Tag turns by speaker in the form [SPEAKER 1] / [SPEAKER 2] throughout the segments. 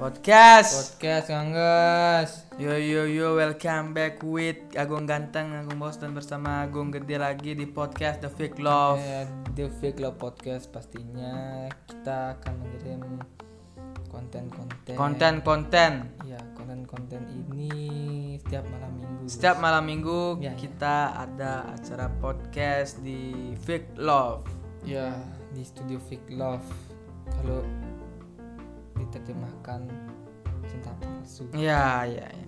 [SPEAKER 1] Podcast.
[SPEAKER 2] Podcast Nganggas.
[SPEAKER 1] Yo yo yo, welcome back with Agung Ganteng, Agung Bos dan bersama Agung Gede lagi di podcast The Fake Love.
[SPEAKER 2] Eh, The Fake Love Podcast pastinya kita akan mengirim konten-konten.
[SPEAKER 1] Konten-konten
[SPEAKER 2] Iya, konten-konten ini setiap malam minggu.
[SPEAKER 1] setiap malam minggu
[SPEAKER 2] Ya, ya.
[SPEAKER 1] kita ada acara podcast di Fake Love.
[SPEAKER 2] ya di studio Fake Love. Kalau diterjemahkan cinta palsu.
[SPEAKER 1] Ya ya. ya.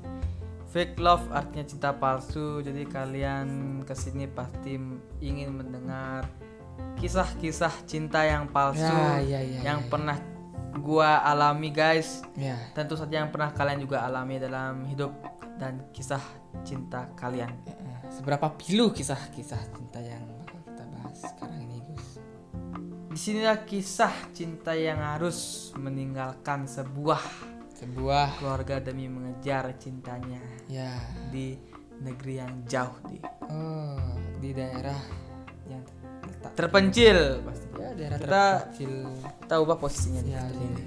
[SPEAKER 1] Fake love artinya cinta palsu. Jadi kalian kesini pasti ingin mendengar kisah-kisah cinta yang palsu
[SPEAKER 2] Ya, ya, ya,
[SPEAKER 1] yang
[SPEAKER 2] ya, ya.
[SPEAKER 1] pernah gua alami guys.
[SPEAKER 2] Ya,
[SPEAKER 1] Tentu saja yang pernah kalian juga alami dalam hidup dan kisah cinta kalian.
[SPEAKER 2] eh, seberapa pilu kisah-kisah cinta yang bakal kita bahas sekarang ini, Gus?
[SPEAKER 1] Disinilah kisah cinta yang harus meninggalkan sebuah
[SPEAKER 2] Sebuah
[SPEAKER 1] keluarga demi mengejar cintanya
[SPEAKER 2] ya
[SPEAKER 1] di negeri yang jauh di
[SPEAKER 2] oh, di daerah yang terletak
[SPEAKER 1] terpencil pasti.
[SPEAKER 2] ya daerah
[SPEAKER 1] Kita
[SPEAKER 2] terpencil
[SPEAKER 1] kita ubah posisinya di
[SPEAKER 2] ya
[SPEAKER 1] seperti ini.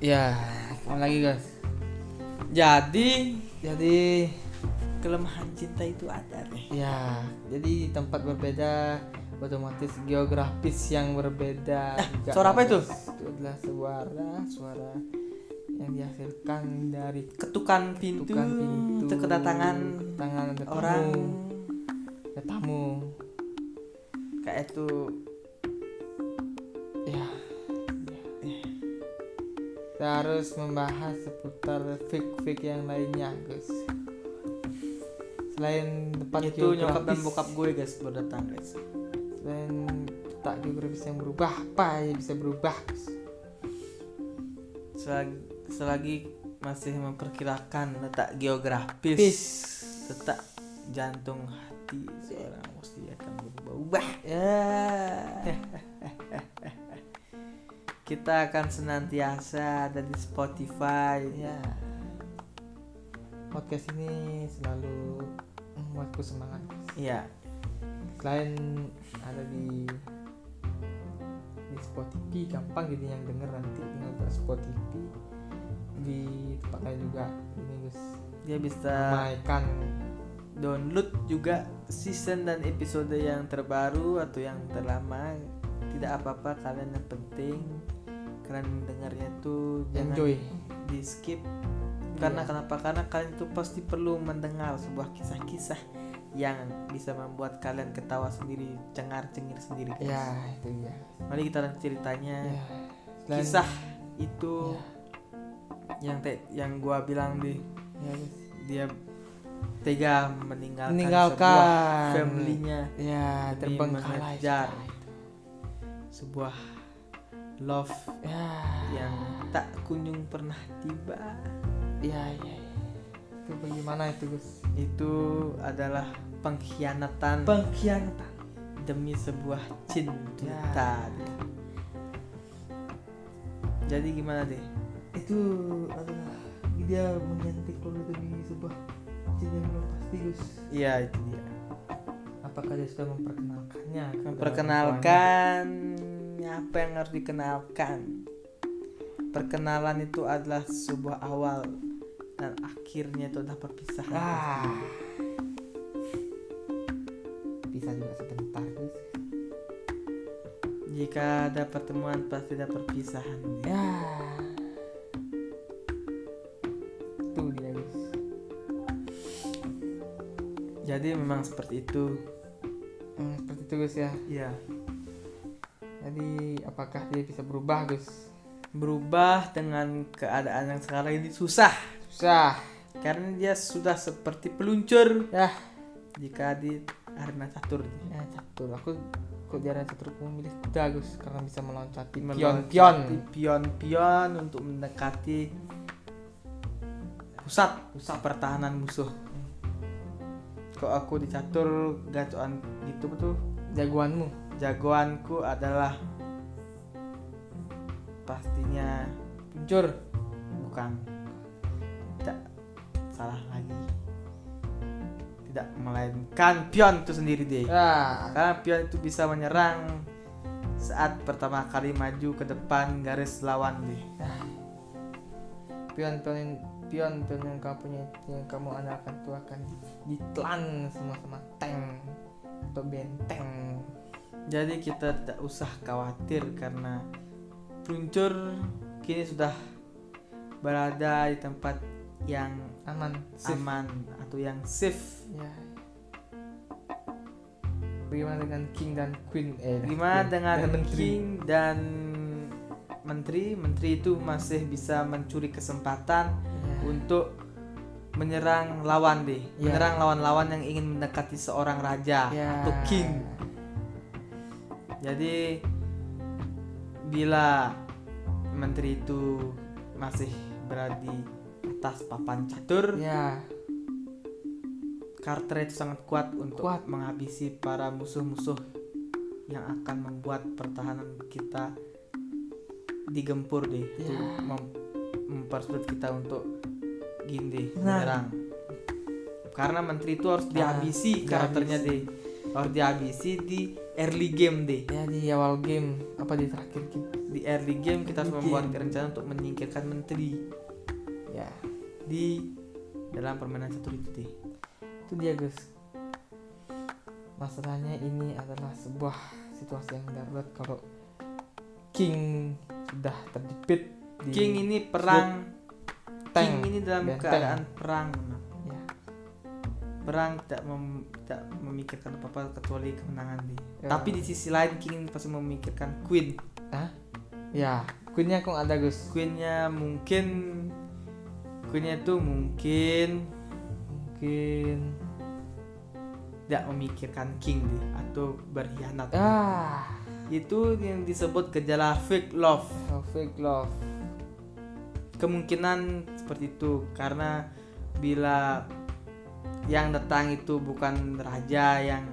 [SPEAKER 2] ya kembali lagi guys
[SPEAKER 1] Jadi jadi kelemahan cinta itu ada nih.
[SPEAKER 2] ya jadi tempat berbeda otomatis geografis yang berbeda juga,
[SPEAKER 1] suara apa itu?
[SPEAKER 2] guys. Eh, itu adalah suara suara yang dihasilkan dari
[SPEAKER 1] Ketukan pintu,
[SPEAKER 2] ketukan pintu
[SPEAKER 1] itu kedatangan
[SPEAKER 2] kedatangan ada tamu,
[SPEAKER 1] orang
[SPEAKER 2] ada tamu
[SPEAKER 1] kayak itu
[SPEAKER 2] ya kita harus membahas seputar fake-fake yang lainnya guys selain tempat
[SPEAKER 1] itu nyokap dan
[SPEAKER 2] geografis,
[SPEAKER 1] bokap gue guys baru datang guys.
[SPEAKER 2] selain tak geografis yang berubah apa yang bisa berubah guys?
[SPEAKER 1] selagi, selagi masih memperkirakan letak geografis
[SPEAKER 2] Pis.
[SPEAKER 1] letak jantung hati seorang pasti akan berubah-ubah
[SPEAKER 2] ya
[SPEAKER 1] kita akan senantiasa ada di Spotify
[SPEAKER 2] ya podcast ini selalu membuatku semangat guys.
[SPEAKER 1] Iya.
[SPEAKER 2] selain ada di di Spotify gampang gitu yang denger nanti tinggal ke Spotify di tempat lain juga ini guys
[SPEAKER 1] dia bisa
[SPEAKER 2] Nah, menaikkan
[SPEAKER 1] download juga season dan episode yang terbaru atau yang terlama tidak apa-apa kalian yang penting kalian dengarnya tuh jangan
[SPEAKER 2] enjoy
[SPEAKER 1] di skip
[SPEAKER 2] Iya.
[SPEAKER 1] karena kenapa karena kalian itu pasti perlu mendengar sebuah kisah-kisah yang bisa membuat kalian ketawa sendiri cengar cengir sendiri guys.
[SPEAKER 2] ya itu dia
[SPEAKER 1] mari kita lanjut ceritanya
[SPEAKER 2] ya. Selain-
[SPEAKER 1] kisah itu yang te- yang gua bilang di
[SPEAKER 2] ya, guys.
[SPEAKER 1] dia tega meninggalkan, sebuah
[SPEAKER 2] meninggalkan
[SPEAKER 1] family-nya
[SPEAKER 2] ya
[SPEAKER 1] demi
[SPEAKER 2] terbengkalai
[SPEAKER 1] mengejar
[SPEAKER 2] cinta Ya, itu.
[SPEAKER 1] sebuah love
[SPEAKER 2] ya
[SPEAKER 1] yang tak kunjung pernah tiba
[SPEAKER 2] ya ya ya. itu bagaimana itu guys
[SPEAKER 1] itu adalah pengkhianatan
[SPEAKER 2] pengkhianatan
[SPEAKER 1] demi sebuah cinta. Jadi gimana deh?
[SPEAKER 2] itu adalah dia mengganti keluarga demi sebuah cinta yang belum pasti Gus
[SPEAKER 1] Iya itu dia.
[SPEAKER 2] apakah dia sudah
[SPEAKER 1] Ya,
[SPEAKER 2] memperkenalkannya ke dalam
[SPEAKER 1] Perkenalkan apa yang harus dikenalkan. Perkenalan itu adalah sebuah awal dan akhirnya itu adalah
[SPEAKER 2] keluarganya?
[SPEAKER 1] perpisahan.
[SPEAKER 2] ah bisa juga sebentar Gus
[SPEAKER 1] Jika ada pertemuan pasti ada perpisahan.
[SPEAKER 2] ya itu dia Gus
[SPEAKER 1] Jadi memang seperti itu.
[SPEAKER 2] Hmm, seperti itu Gus ya
[SPEAKER 1] Iya.
[SPEAKER 2] jadi apakah dia bisa berubah Gus
[SPEAKER 1] Berubah dengan keadaan yang sekarang ini susah
[SPEAKER 2] susah
[SPEAKER 1] karena dia sudah seperti peluncur
[SPEAKER 2] ya
[SPEAKER 1] jika di arena catur
[SPEAKER 2] ya catur aku kok jarang catur aku memilih kuda Gus karena bisa meloncati pion
[SPEAKER 1] Meloncati
[SPEAKER 2] pion
[SPEAKER 1] pion pion untuk mendekati pusat pusat pertahanan musuh kok aku di catur gacoan gitu tuh
[SPEAKER 2] jagoanmu
[SPEAKER 1] jagoanku adalah pastinya
[SPEAKER 2] Peluncur
[SPEAKER 1] bukan tidak salah lagi tidak melainkan pion itu sendiri deh
[SPEAKER 2] Nah,
[SPEAKER 1] karena pion itu bisa menyerang saat pertama kali maju ke depan garis lawan deh
[SPEAKER 2] pion-pion pion-pion yang kamu punya yang kamu andalkan itu akan ditelan semua sama tank atau benteng.
[SPEAKER 1] jadi kita tidak usah khawatir karena peluncur kini sudah berada di tempat yang
[SPEAKER 2] Aman, safe.
[SPEAKER 1] aman atau yang safe
[SPEAKER 2] Ya. Bagaimana dengan king dan queen? Eh,
[SPEAKER 1] Gimana
[SPEAKER 2] queen
[SPEAKER 1] dengan
[SPEAKER 2] dan menteri?
[SPEAKER 1] King dan menteri? Menteri itu masih bisa mencuri kesempatan
[SPEAKER 2] Ya.
[SPEAKER 1] untuk menyerang lawan deh,
[SPEAKER 2] Ya.
[SPEAKER 1] menyerang lawan-lawan yang ingin mendekati seorang raja
[SPEAKER 2] Ya.
[SPEAKER 1] atau king. Jadi bila menteri itu masih berada di atas papan catur,
[SPEAKER 2] Ya,
[SPEAKER 1] Carter itu sangat kuat untuk
[SPEAKER 2] Kuat.
[SPEAKER 1] menghabisi para musuh-musuh yang akan membuat pertahanan kita digempur deh itu
[SPEAKER 2] Ya.
[SPEAKER 1] mem- mempersulit kita untuk gini deh,
[SPEAKER 2] Nah.
[SPEAKER 1] menyerang karena menteri itu harus
[SPEAKER 2] Ah,
[SPEAKER 1] dihabisi
[SPEAKER 2] dihabisi.
[SPEAKER 1] karakternya deh harus dihabisi di early game deh
[SPEAKER 2] ya di awal game apa di terakhir game?
[SPEAKER 1] di early game kita harus
[SPEAKER 2] Early
[SPEAKER 1] membuat
[SPEAKER 2] game.
[SPEAKER 1] rencana untuk menyingkirkan menteri
[SPEAKER 2] Ya,
[SPEAKER 1] di dalam permainan satu itu deh
[SPEAKER 2] itu dia guys. Masalahnya ini adalah sebuah situasi yang darurat kalau king sudah terdipit di
[SPEAKER 1] King ini perang
[SPEAKER 2] tank.
[SPEAKER 1] King ini dalam
[SPEAKER 2] Benteng.
[SPEAKER 1] keadaan perang
[SPEAKER 2] Ya,
[SPEAKER 1] perang tidak, mem- tidak memikirkan apa apa kecuali kemenangan di
[SPEAKER 2] Ya.
[SPEAKER 1] tapi di sisi lain king pasti memikirkan queen
[SPEAKER 2] ya queennya kok ada guys.
[SPEAKER 1] queennya mungkin queennya itu mungkin
[SPEAKER 2] Mungkin
[SPEAKER 1] tidak memikirkan king deh atau berkhianat
[SPEAKER 2] ah
[SPEAKER 1] itu yang disebut gejala fake love
[SPEAKER 2] fake love.
[SPEAKER 1] kemungkinan seperti itu karena bila yang datang itu bukan raja yang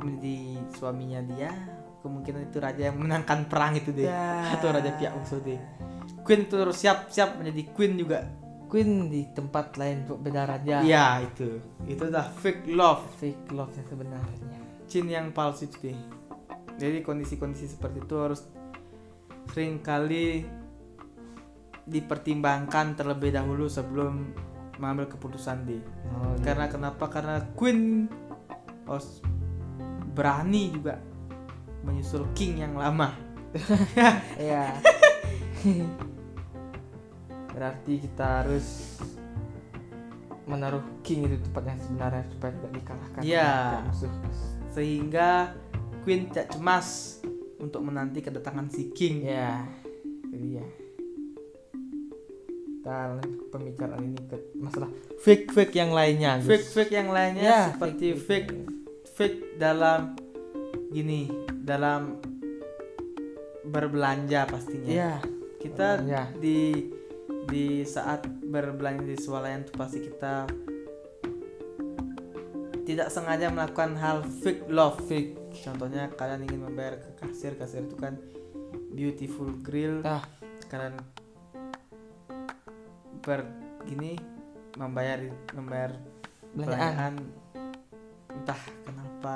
[SPEAKER 1] menjadi suaminya dia kemungkinan itu raja yang menangkan perang itu deh
[SPEAKER 2] Ya.
[SPEAKER 1] atau raja pihak musuh deh queen itu harus siap-siap menjadi queen juga
[SPEAKER 2] Queen di tempat lain untuk beda raja.
[SPEAKER 1] iya itu itu udah fake love
[SPEAKER 2] Fake love yang sebenarnya.
[SPEAKER 1] cin yang palsu itu deh jadi kondisi-kondisi seperti itu harus seringkali dipertimbangkan terlebih dahulu sebelum mengambil keputusan deh
[SPEAKER 2] Oh, iya.
[SPEAKER 1] karena kenapa karena Queen harus berani juga menyusul King yang lama
[SPEAKER 2] Iya. Berarti kita harus menaruh king itu tempat yang sebenarnya supaya tidak dikalahkan
[SPEAKER 1] Iya.
[SPEAKER 2] oleh musuh.
[SPEAKER 1] sehingga Queen tidak cemas untuk menanti kedatangan si King
[SPEAKER 2] Ya, itu dia. Kita lanjut pembicaraan ini ke masalah fake fake yang lainnya. Gus.
[SPEAKER 1] fake fake yang lainnya
[SPEAKER 2] Ya,
[SPEAKER 1] seperti fake fake dalam gini dalam berbelanja pastinya
[SPEAKER 2] Iya.
[SPEAKER 1] kita
[SPEAKER 2] Berbelanja.
[SPEAKER 1] di di saat berbelanja di swalayan tuh pasti kita tidak sengaja melakukan hal fake love fake contohnya kalian ingin membayar ke kasir kasir itu kan beautiful grill
[SPEAKER 2] Ah.
[SPEAKER 1] kalian ber gini membayar membayar belanjaan
[SPEAKER 2] Belanjaan.
[SPEAKER 1] entah kenapa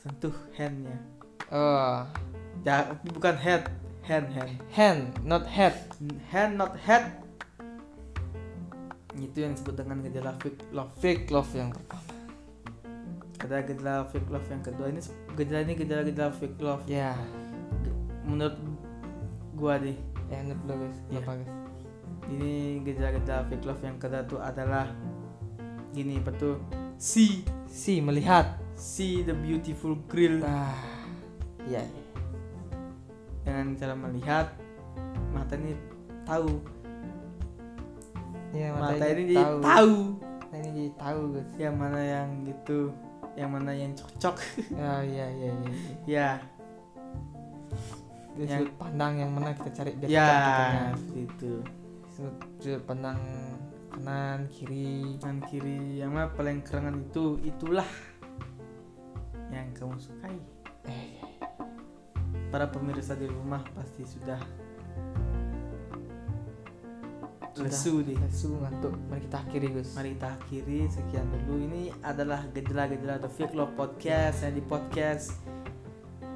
[SPEAKER 1] sentuh handnya
[SPEAKER 2] Oh,
[SPEAKER 1] ya bukan head hand hand
[SPEAKER 2] hand not head.
[SPEAKER 1] hand not head itu yang disebut dengan gejala fake love
[SPEAKER 2] Fake love yang pertama.
[SPEAKER 1] ada gejala fake love yang kedua ini se- gejala ini gejala gejala fake love
[SPEAKER 2] Ya.
[SPEAKER 1] menurut gua deh
[SPEAKER 2] Ya, menurut lo guys.
[SPEAKER 1] Iya.
[SPEAKER 2] Apa guys?
[SPEAKER 1] ini gejala-gejala fake love yang kedua tuh adalah gini apa tuh see
[SPEAKER 2] Si melihat.
[SPEAKER 1] see the beautiful grill
[SPEAKER 2] Ah. Iya.
[SPEAKER 1] dengan cara melihat mata ini tahu
[SPEAKER 2] Iya,
[SPEAKER 1] mata,
[SPEAKER 2] matanya
[SPEAKER 1] ini jadi tahu
[SPEAKER 2] Nah, ini jadi tahu guys.
[SPEAKER 1] yang mana yang gitu yang mana yang cocok Oh,
[SPEAKER 2] Ya
[SPEAKER 1] iya,
[SPEAKER 2] ya ya ya. ya.
[SPEAKER 1] ya
[SPEAKER 2] Dari
[SPEAKER 1] Yang-
[SPEAKER 2] sudut pandang yang mana kita cari biar
[SPEAKER 1] ya
[SPEAKER 2] cocok gitu kan.
[SPEAKER 1] seperti itu
[SPEAKER 2] Sudut, sudut pandang kanan kiri.
[SPEAKER 1] kanan kiri yang mana paling kerengan itu itulah yang kamu sukai
[SPEAKER 2] Eh, ya.
[SPEAKER 1] para pemirsa di rumah pasti sudah lesu deh
[SPEAKER 2] lesu ngantuk mari kita akhiri Gus
[SPEAKER 1] Mari kita akhiri sekian dulu. Ini adalah gejala-gejala The Fake Love Podcast yang di podcast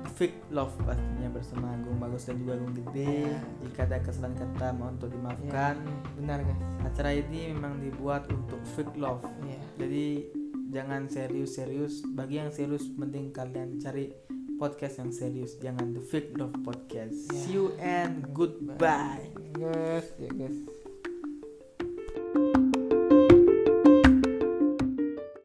[SPEAKER 1] The Fake Love pastinya bersama Agung Bagus dan juga Agung Gede.
[SPEAKER 2] Ya.
[SPEAKER 1] Jika ada kesalahan kata mohon untuk dimaafkan.
[SPEAKER 2] Iya. benar guys
[SPEAKER 1] Acara ini memang dibuat untuk fake love.
[SPEAKER 2] iya
[SPEAKER 1] Jadi jangan serius-serius. Bagi yang serius mending kalian cari podcast yang serius. Jangan The Fake Love Podcast.
[SPEAKER 2] Ya.
[SPEAKER 1] See you and goodbye.
[SPEAKER 2] guys ya guys